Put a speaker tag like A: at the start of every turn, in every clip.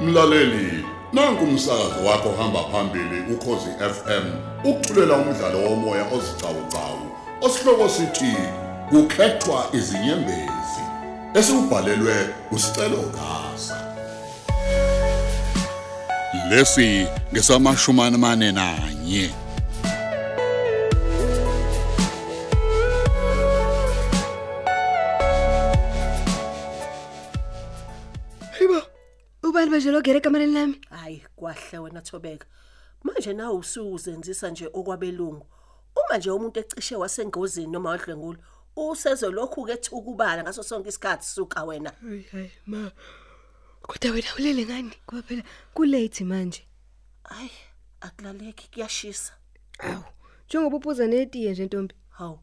A: Mlaleli, nanku umsakazo wakho hamba phambili ukhozi FM ukuthulela umdlalo womoya ozicawucawu osihloko sithi kukhethwa izinyembezi esibhalelwe usicelo gaza. Lesi ngesamashumana mane nanye.
B: Hayibo. Ubani manje lo gereka kamareni lami?
C: hayi kwahle wena thobeka manje nawe usuzenzisa nje okwabelungu uma nje umuntu ecishe wasengozini noma wadlwengula usezolokhu ke ukubala ngaso sonke isikhathi suka wena
B: Hayi hayi ma. Kodwa wena ulele ngani? Ngoba phela kulate manje.
C: hayi akulaleki kuyashisa
B: Awu. Njengoba uphuza netiye nje ntombi.
C: hawu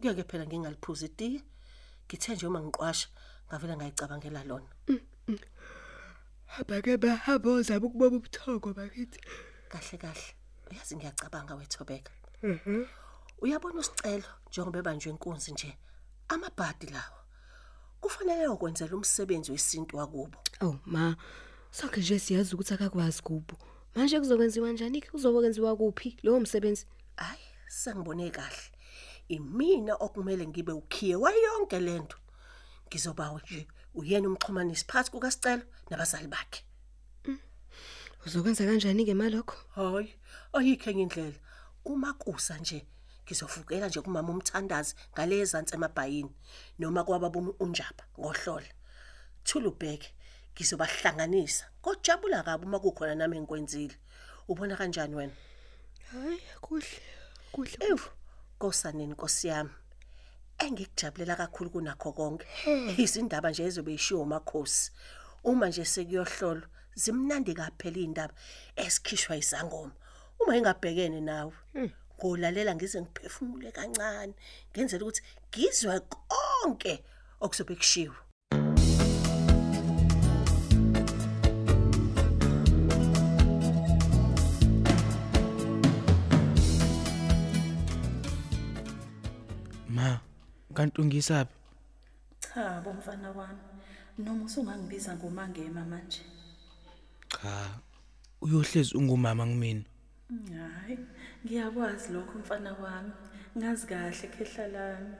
C: kuye-ke phela ngingaliphuzi itiye ngithe nje uma ngiqwasha ngavele ngayicabangela lona
B: Haba Mm, ke bahamba ozaba ukuboba ubuthoko bakithi.
C: kahle kahle uyazi ngiyacabanga wethobeka
B: Mhm.
C: uyabona usicelo njengoba ebanjwe inkunzi nje amabhadi lawa kufanele ukwenzela umsebenzi wesintu wakubo
B: Awu Oh, ma. Sonke nje siyazi ukuthi akakwazi kubo. Manje kuzokwenziwa kanjani ke? Uzobokwenziwa kuphi lowo msebenzi?
C: hayi sengibone kahle imina okumele ngibe ukhiye wayonke lento ngizobawa nje uyena umxhumanisi phakathi kukasicelo nabazali bakhe
B: Uzokwenza kanjani ke malokho?
C: hayi ayikho enye indlela uma kusa nje ngizovukela nje kumama umthandazi ngale ezantsi emabhayini noma kwababa um- unjaba ngohlola thulubheke ngizobahlanganisa kojabula kabi uma kukhona nami engikwenzile ubona kanjani wena
B: Hayi kuhle. Kuhle.
C: Ew, Nkosaneni Nkosi yami. Engikujabulela kakhulu kunakho konke. Izindaba nje ezobe ishiwo makhosi. Uma nje sekuyohlolwa, zimnandi kaphela indaba esikhishwa izangoma. Uma engabhekene nawe, ngolalela ngize ngiphefumule kancane, ngenzela ukuthi ngizwe konke okuzobe kushiwo.
D: ma kanti ungisaphi
E: cha bomfana wami noma usungangibiza ngomangema manje
D: cha uyohlezi ungumama kumina
E: hayi ngiyakwazi lokho mfana wami ngazi kahle khehla lami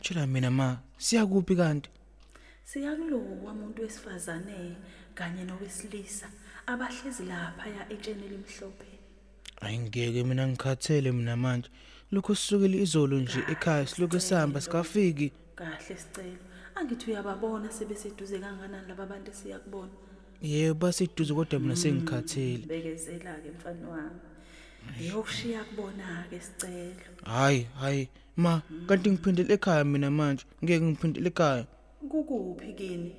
D: tshela mina ma siyakuphi kanti
E: siyakulokwa umuntu wesifazane kanye nowesilisa abahlezi lapha ya etsheni elimhlophe
D: ayi ngeke mina ngikhathele mina manje lokho sisukile izolo nje ekhaya silokhu sihamba sikafiki
E: kahle sicelo angithi uyababona sebeseduze kanganani laba bantu siyakubona
D: yebo basiduze kodwa mina sengikhathele
E: Mm, bekezela-ke mfana wami ngiyokushiya kubona-ke sicelo
D: hhayi hhayi ma kanti ngiphindele ekhaya mina manje ngeke ngiphindele ekhaya
E: Kukuphi kini?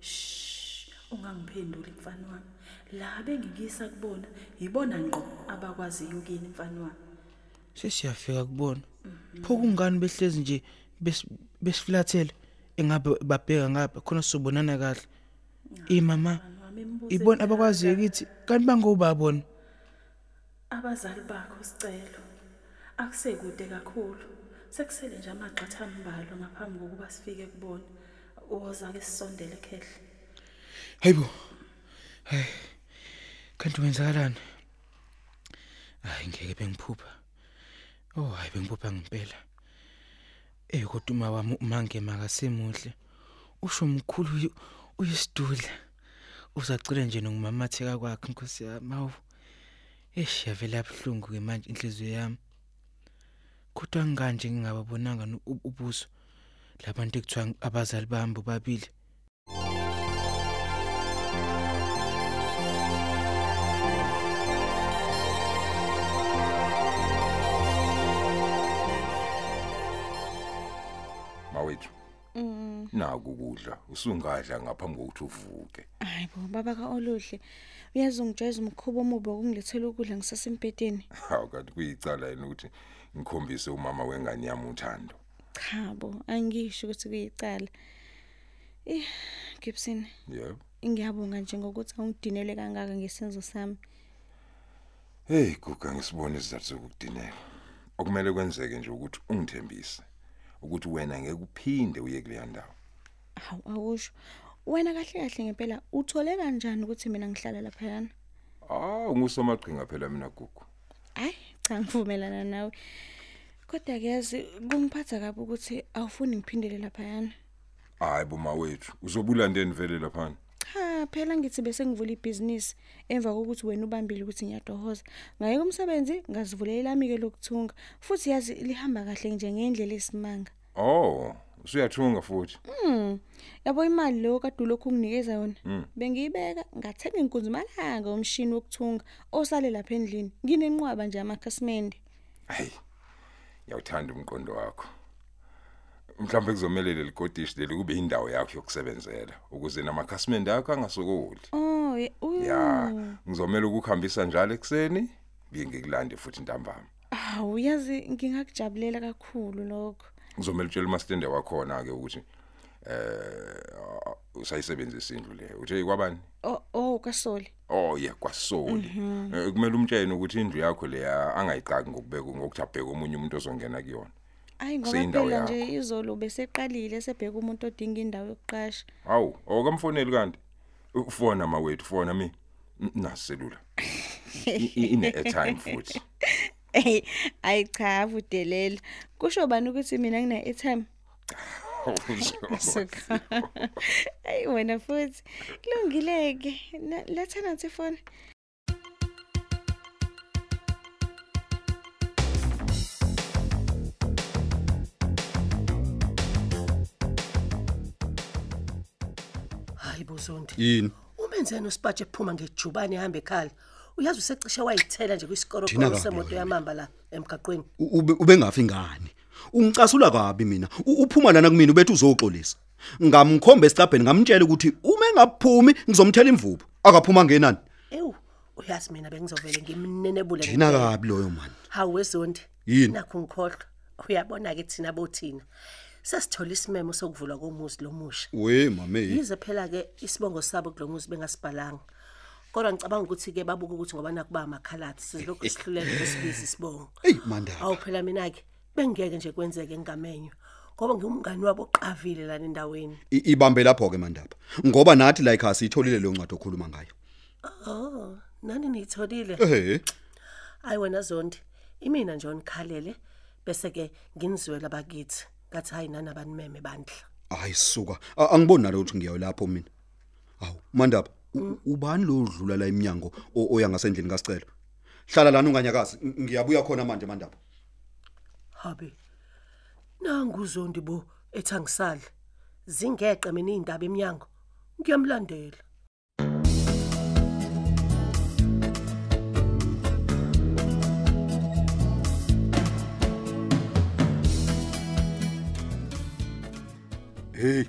E: Shh, ungangiphenduli mfana wami. La bengikisa kubona, yibona ngqo abakwaziyo kini mfana wami.
D: sesiyafika kubona pho kungani behlezi nje bes- besifilathele engabe babheka ngapha khona sizobonana kahle imama
E: Mfana wami imibuzo
D: ibona
E: ekhaya.
D: abakwaziyo kithi kanti bangobabona
E: abazali bakho sicelo. Akusekude kakhulu. Sekusele nje amagxatha ambalwa ngaphambi kokuba sifike kubona. Woza ke sisondele khehle.
D: hayibo hey kanti wenzakalani hayi ngeke bengiphupha oh hayi bengiphupha ngempela eh kodwa uma wami umangema akasemuhle usho mkhulu uyi- uyisidudla uzacile nje nokumamatheka kwakhe inkosi yami awu eish yavela abhlungu ke manje inhliziyo yami kodwa ngikanje ngingababonanga no- u- ubuso labantu ekuthiwa abazali bami bobabili
F: mawethu naku ukudla usungadla ngaphambi kokuthi uvuke
G: hayi bo baba ka-oluhle uyazi ungijwayeza umkhuba omubi wokungilethela ukudla ngisasempedeni
F: hawu kanti kuyicala yini ukuthi ngikhombise umama wengane yami uthando
G: cha bo angisho ukuthi kuyicala eh gibson
F: yebo
G: ngiyabonga nje ngokuthi awungidinele kangaka ngesenzo sami
F: hey guga ngisibone isizathu sokukudinela okumele kwenzeke nje ukuthi ungithembise ukuthi wena ngeke uphinde uye kuleya ndawo
G: hawu awusho wena kahle kahle ngempela uthole kanjani ukuthi mina ngihlala laphayana
F: Ah, ngusomaqhinga phela mina gugu.
G: hayi cha ngivumelana nawe kodwa ke yazi kungiphatha kabi ukuthi awufuni ngiphindele laphayana
F: Hayi boma wethu, uzobulandeni vele lapha?
G: cha phela ngithi bese ngivula ibhizinisi emva kokuthi wena ubambile ukuthi ngiyadohoza ngayeka umsebenzi ngazivulela elami-ke lokuthunga futhi yazi lihamba kahle nje ngendlela esimanga
F: Oh, usuyathunga futhi.
G: Hmm. Yabo imali leyo kade lokhu unginikeza yona.
F: Hmm.
G: Bengiyibeka ngathenga inkunzi malanga umshini wokuthunga osale lapha endlini. Nginenqwaba nje amakhasimende.
F: Hayi. Ngiyawuthanda umqondo wakho. Mhlawumbe kuzomele leli godish leli kube indawo yakho yokusebenzela ukuze namakhasimende akho angasokoli.
G: Oh, ye- u-
F: Ya, ngizomela ukukhambisa njalo ekseni, ngiyikulande futhi ntambama.
G: Awu yazi ngingakujabulela kakhulu lokho.
F: Ngizomela utshela umastende wakhona ke ukuthi eh usayisebenzisa indlu le. Uthe kwabani?
G: Oh, oh kasoli. Mhm.
F: Oh yeah kwasoli. Eh, Kumele umtshene ukuthi indlu yakho leya angayiqaki ngokubeka ngokuthi abheke omunye umuntu ozongena kuyona.
G: Ayi ngoba
F: Seyindawo
G: phela
F: yakho.
G: nje izolo beseqalile sebheka umuntu odinga indawo yokuqasha.
F: Hawu, awukamfoneli kanti. Ufona mawethu, fona mi. N- Nasi selula. I- i- Ine airtime futhi.
G: Ey, ayi cha avudelela. Kusho bani ukuthi mina ngine airtime?
F: Oh,
G: Suka. Ayi wena futhi. Kulungileke. Letha nathi phone.
C: hayi bozondi
H: yini
C: umenzeni usipatshe ephuma ngejubane ehambe ekhala uyazi usecishe wayithela nje
H: Thina
C: kwisikorokoro
H: kabi
C: semoto
H: wena.
C: yamamba la emgaqweni
H: U- ube- ubengafi ngani ungicasula kabi mina U- uphuma lana kumina ubethu uzoxolisa ngamkhomba esicabheni ngamtshela ukuthi uma engaphumi ngizomthela imvubu akaphuma ngenani
C: ewu uyazi mina bengizovele ngimnenebule
H: thina
C: ngempela.
H: kabi loyo mani
C: hawu wezondi
H: Yini?
C: nakho ngikhohlwa uyabona-ke thina bothina sesithole isimemo sokuvulwa komuzi lomusha
H: we mame
C: yize phela-ke isibongo sabo kulo muzi bengasibhalanga kodwa ngicabanga ukuthi-ke babuke ukuthi ngoba nakuba amakhalathi sizilokhu sihlulele kwesibizi isibongo
H: eyi mandaba
C: awu phela mina-ke bengingeke nje kwenzeke ngingamenywa ngoba ngiwumngani wabo oqavile lana endaweni
H: I- ibambe lapho ke mandaba ngoba nathi la ekhaya siyitholile leyo ncwadi okhuluma ngayo
C: o nani niyitholile
H: ehe
C: hayi wena zondi imina nje onikhalele bese-ke nginizwela bakithi ngathi hhayi nani abanimeme bandla
H: hayi suka A- angiboni nalo ukuthi ngiyayo lapho mina awu mandaba u- ubani lo udlula la eminyango o- oya ngasendlini kasicelo hlala lana unganyakazi ng- ngiyabuya khona manje mandaba
C: habe nanguzondi bo ethangisale zingeqe mina iy'ndaba emnyango ngiyamlandela
H: hey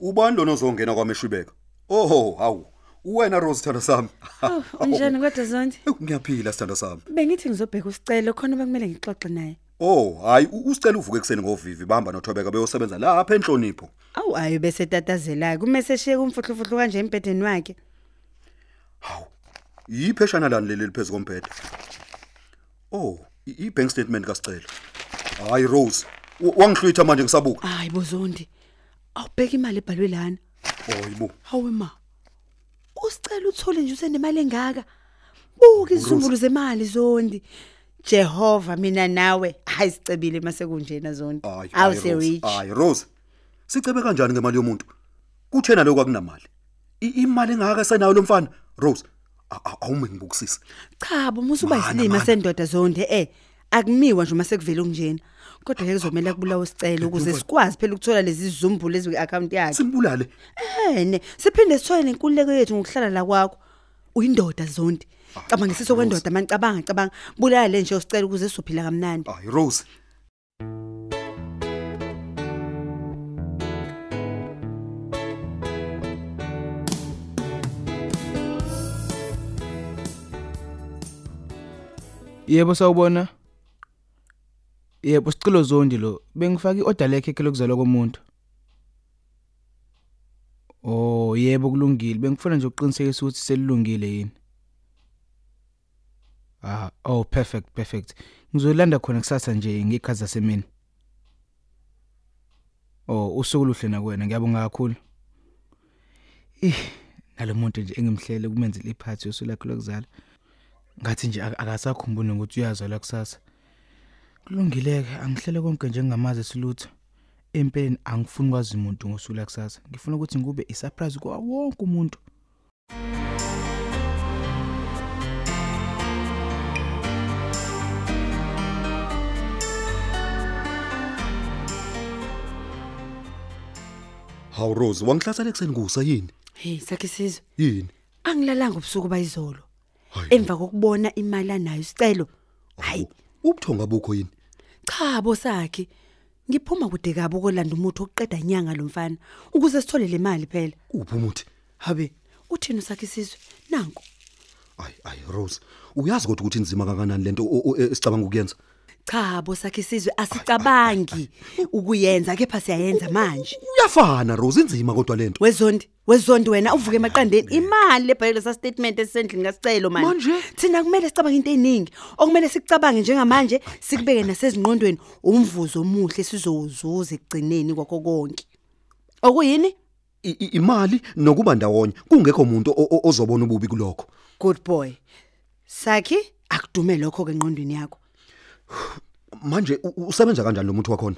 H: ubani lona ozongena kwameshwibeka oho hawu wena rose sithando sami
I: Oh, unjani kodwa zonke?
H: Ewu, ngiyaphila sithando sami
I: Bengithi ngizobheka usicelo khona bekumele ngixoxe naye.
H: oh hayi u- usicela uvuke ekuseni ngovivi bahamba nothobeka beyosebenza lapha enhlonipho
I: Awu ayo bese tatazelayo. Kumeseshiye kumfuhlufuthu kanje empedeni wakhe.
H: hawu yipheshana lani leli liphezu kombhede oh i- i-bank statement kasicelo hayi rose w- wangihlwitha manje ngisabuka
I: Hayi bozondi. Awubheka imali ebhalwe lana.
H: oh yibo
I: Hawe ma. Usicela uthole nje usenemali engaka. Buka izizumbulu zemali zondi. Jehova mina nawe hayi sicebile mase kunjena zondi.
H: Hayi, hayi,
I: Awuse
H: Rose.
I: rich.
H: hayi rose sicebe kanjani ngemali yomuntu kuthena lokhu akunamali I- imali engaka esenayo lo mfana rose a- a- awume ngibukisise
I: Cha, bomusa uba
H: Mana,
I: isilima
H: mana.
I: sendoda zonde eh. Akumiwa nje uma sekuvela kunjena. Kodwa ke kuzomela kubulawa isicelo ukuze sikwazi phela ukuthola lezi zizumbulu lezi kwi-account yakhe.
H: simbulale
I: Ehene, siphinde sithole lenkululeko yethu ngokuhlala la kwakho. uyindoda zonde.
H: Ah,
I: Caba ngisiso kwendoda manicabanga cabanga. Bulala le nje usicela ukuze sizophila kamnandi.
H: hayi Ah, rose
D: Yebo sawubona. Yebo sicelo zondi lo. Bengifaka iorder lekhe ke lokuzalwa komuntu. Oh yebo kulungile. Bengifuna nje uqinisekisa ukuthi selilungile yini. Ah, oh perfect, perfect. Ngizolanda khona kusasa nje ngikhaza semini. Oh, usuku luhle na kuwena. Ngiyabonga kakhulu. eh nalomuntu nje engimhlele kumenzile iphathi yosulakho lokuzala ngathi nje ak- akasakhumbuli ukuthi uyazala kusasa kulungileke angihlele konke njengamazi silutho empeleni angifuni kwazi umuntu ngosula kusasa ngifuna ukuthi ngikube isurprise kwa wonke umuntu
H: Hawu Rose, wangihlasela ekseni kusa yini?
I: hey sakhe sizwe
H: Yini?
I: angilalanga ubusuku bayizolo
H: Hayi. Oh,
I: emva kokubona imali anayo sicelo hayi
H: Ubuthonga bukho yini?
I: cha bo sakhe ngiphuma kude kabo kolanda umuntu oqeda inyanga lomfana ukuze sithole le mali phela
H: Uphi umuthi?
I: habe uthini sakhe sizwe nanku
H: Ay ay Rose, uyazi kodwa ukuthi inzima kanganani lento o- o- esicabanga ukuyenza?
I: cha bo sakhe sizwe asicabangi ukuyenza kepha siyayenza manje
H: Uyafana Rose, inzima kodwa lento.
I: wezondi wezondi wena uvuke emaqandeni imali lebhayile sa statement esendlini ngasicelo manje
H: Manje?
I: thina kumele sicabange into eningi okumele sikucabange njengamanje sikubeke nasezingqondweni umvuzo omuhle sizozuza ekugcineni kwakho konke okuyini
H: I- i- Imali nokuba ndawonye kungekho umuntu o- o- ozobona ububi kulokho.
I: good boy saki akudume lokho ke ngqondweni yakho
H: Manje u- u- usebenza kanjani lo muntu wakhona?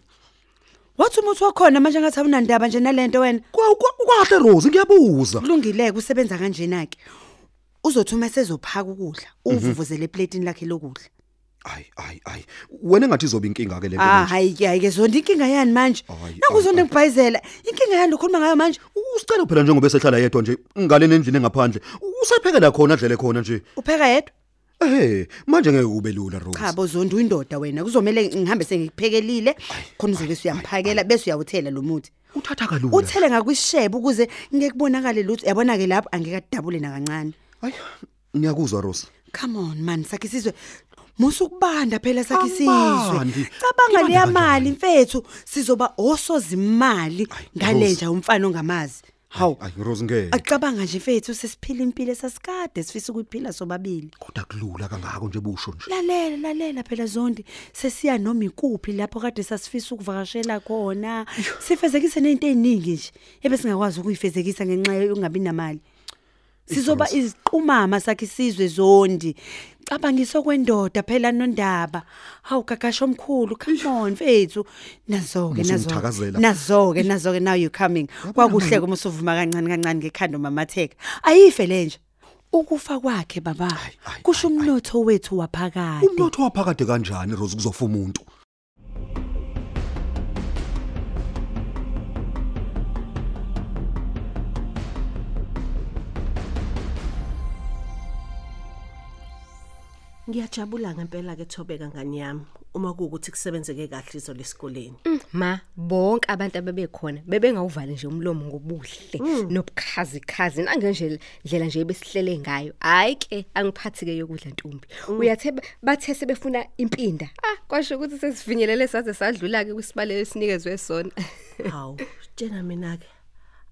I: wathi umuthi wakhona manje ngathi awunandaba nje nalento wena
H: Kwa kwa- kwahle Rose, ngiyabuza.
I: kulungileke usebenza kanjena ke uzothuma sezophaka ukudla
H: Mhm.
I: uvuvuzele eplatini lakhe lokudla
H: Ay ay ay. Wena engathi izoba inkinga ke lento.
I: ah
H: manje.
I: hayi ke hayi ke zonke inkinga yani manje
H: Hayi,
I: nakuzonto
H: hayi,
I: engibhayizela inkinga yani lokhuluma ngayo manje
H: Usicela phela njengoba esehlala yedwa nje ngalena endlini engaphandle. Usephekela khona adlele khona nje.
I: upheka yedwa
H: Eh, manje ngeke kube lula Rose.
I: cha bozondo uyindoda wena kuzomele ngihambe sengikuphekelile khona uzobe uyamphakela bese uyawuthela lo muthi
H: Uthatha kalula.
I: uthele ngakwishebo ukuze ngeke kubonakale lutho yabona ke lapho angeke adabule nakancane
H: Hayi, ngiyakuzwa Rose.
I: come on man sakhe isizwe musukubanda phela sakhe
H: Angibandi.
I: isizwe cabanga leya
H: Ngibanda
I: mali mfethu sizoba osozimali
H: Ayi,
I: ngale
H: Rose.
I: nja umfana ongamazi
H: Eh.
I: hawu
H: Hayi Rose ngeke.
I: acabanga nje mfethu sesiphila impilo esasikade sifisa ukuyiphila sobabili
H: Kodwa kulula kangako nje busho nje.
I: lalela lalela phela zondi sesiya noma ikuphi lapho kade sasifisa ukuvakashela khona sifezekise nento eziningi nje ebe singakwazi ukuyifezekisa ngenxa yokungabi namali sizoba iziqumama sakhe isizwe zondi cabangisa kwendoda phela nondaba hawu gagasha omkhulu come on mfethu nazo-ke
H: Musungithakazela.
I: nazo nazo-ke nazo-ke now you coming kwakuhle kuma usuvuma kancane kancane ngekhanda umamatheka ayife le nje ukufa kwakhe baba
H: ayi,
I: kusho umnotho wethu waphakade
H: Umnotho waphakade kanjani Rose kuzofa umuntu?
C: Ngiyajabula ngempela ke Thobeka ngani yami uma kuukuthi kusebenzeke kahle izolo esikoleni.
B: ma bonke abantu abebekhona bebengawuvali nje umlomo ngobuhle nobukhazikhazi nangenje ndlela nje besihlele ngayo hhayi ke angiphathi-ke yokudla ntombi uyathe ba- bathe sebefuna impinda ah kwasho ukuthi sesifinyelele saze sadlula-ke kwisibalelo esinikezwe sona
C: Hawu, tjena mina ke.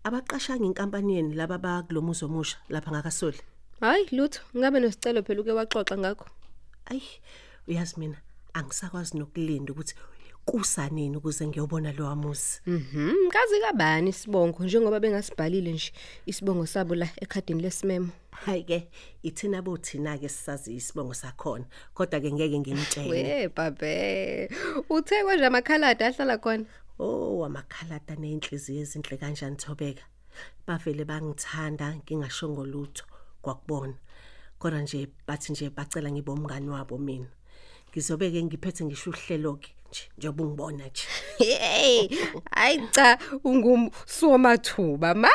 C: Abaqashanga inkampani yeni laba ba kulomuzo omusha lapha ngakasoli.
B: hhayi lutho ngabe nosicelo phela uke waxoxa ngakho
C: Ayi, uyazi mina angisakwazi nokulinda ukuthi kusanini ukuze ngiyobona lo amuzi.
B: Mhm, kazi kabani isibongo njengoba bengasibhalile nje isibongo sabo la ekhadini lesimemo
C: Hayi ke, ithina bothina ke sisazi isibongo sakhona. Kodwa ke ngeke ngimtshele.
B: we babhe uthe kwenje amakhaladi ahlala khona
C: Oh, amakhalata nenhliziyo ezinhle kanjani Thobeka. Bavele bangithanda ngingashongo lutho kwakubona. Kodwa nje bathi nje bacela ngibe umngani wabo mina. Ngizobeke ngiphethe ngisho uhlelo ke nje njengoba ungibona nje.
B: hey hayi cha ungumsomathuba ma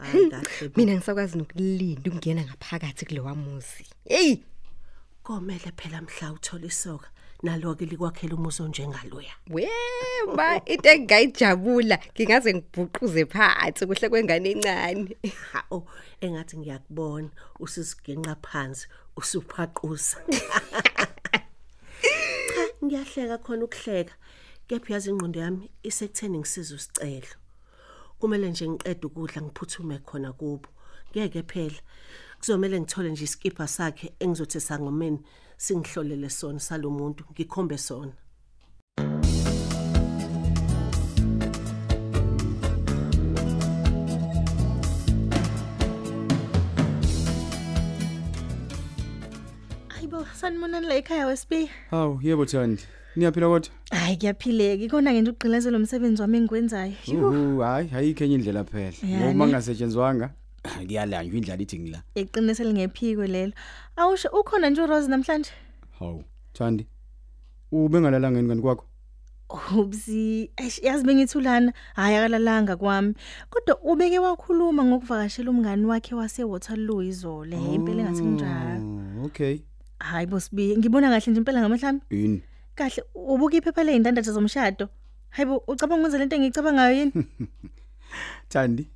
C: Hayi kahle bo.
B: mina ngisakwazi nokulinda ukungena ngaphakathi kulowa muzi heyi
C: Komele phela mhla uthola isoka naloke likwakhela umuzo njengaloya.
B: we
C: Oh.
B: ma into engingayijabula ngingaze ngibhuquze phansi kuhle kwengane encane
C: Ha oh engathi ngiyakubona usizigenqa phansi usuphaqoza. Cha ngiyahleka khona ukuhleka. Kepha uyazi ingqondo yami isekutheni ngisiza usicelo. Kumele nje ngiqede ukudla ngiphuthume khona kubo. Ngeke phela. Kuzomele ngithole nje iskipa sakhe engizothi sangomeni singihlolele sona salomuntu ngikhombe sona.
J: sanibonani la ekhaya wesp
K: hawu yebo Thandi niyaphila kodwa
J: hayi kuyaphileka ikhona-ke nje ukugqilazela umsebenzi wami engiwenzayo
K: uhu hayi ayikho enye indlela phela
J: Yani.
K: ngoba ngingasetshenzwanga kuyalanjwa indlala ithi ngila
J: iqinise lingephiko lelo awusho ukhona nje urose namhlanje
K: hawu Thandi ubengalala ngeni kanti kwakho
J: ubzi eish, yazi bengithulana hhayi akalalanga kwami kodwa ubeke wakhuluma ngokuvakashela umngani wakhe wasewaterloo izole impela engathi kunjalo
K: Oh, okay
J: hhayi bosibi ngibona kahle nje impela ngamahlami
K: yini
J: kahle ubuke iphepha ley'ndandatho zomshado hayi bo ucabanga ukwenza lento engiyicabangayo yini
K: Thandi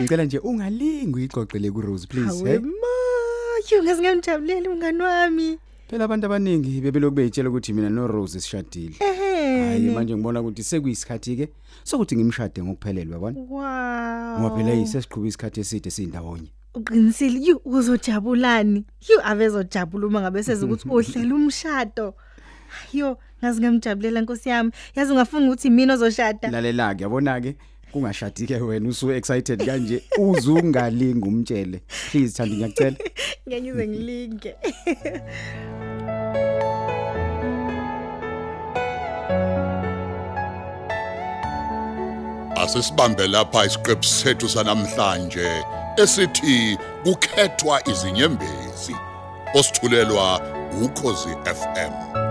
K: ngicela nje ungalingi uyixoxele ku Rose please eh?
J: hawe
K: hey
J: ma yo ngaze ngamjabuleli umngani wami
K: phela abantu abaningi bebeloku beyitshela ukuthi mina no Rose sishadile hayi
J: ehe
K: manje ngibona ukuthi sekuyisikhathi ke sokuthi ngimshade ngokuphelele yabona ngoba phela
J: wow
K: yisesiqhubile isikhathi eside sindawonye
J: uqinisile you uzojabulani you avezojabula uma ngabe seza ukuthi uhlela umshado yo ngaze ngamjabulela nkosi yami yazi ungafuna ukuthi mina ozoshada
K: lalelaka yabona ke kungashadi ke wena usu excited kanje uzungalinga umtshele please Thandi ngiyakucela
J: ngeke ngize ngilinge
A: Asisibambe lapha isiqephu sethu sanamhlanje esithi kukhethwa izinyembezi osithulelwa ukhozi FM.